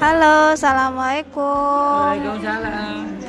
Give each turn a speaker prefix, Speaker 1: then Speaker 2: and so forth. Speaker 1: Halo, assalamualaikum.
Speaker 2: Waalaikumsalam.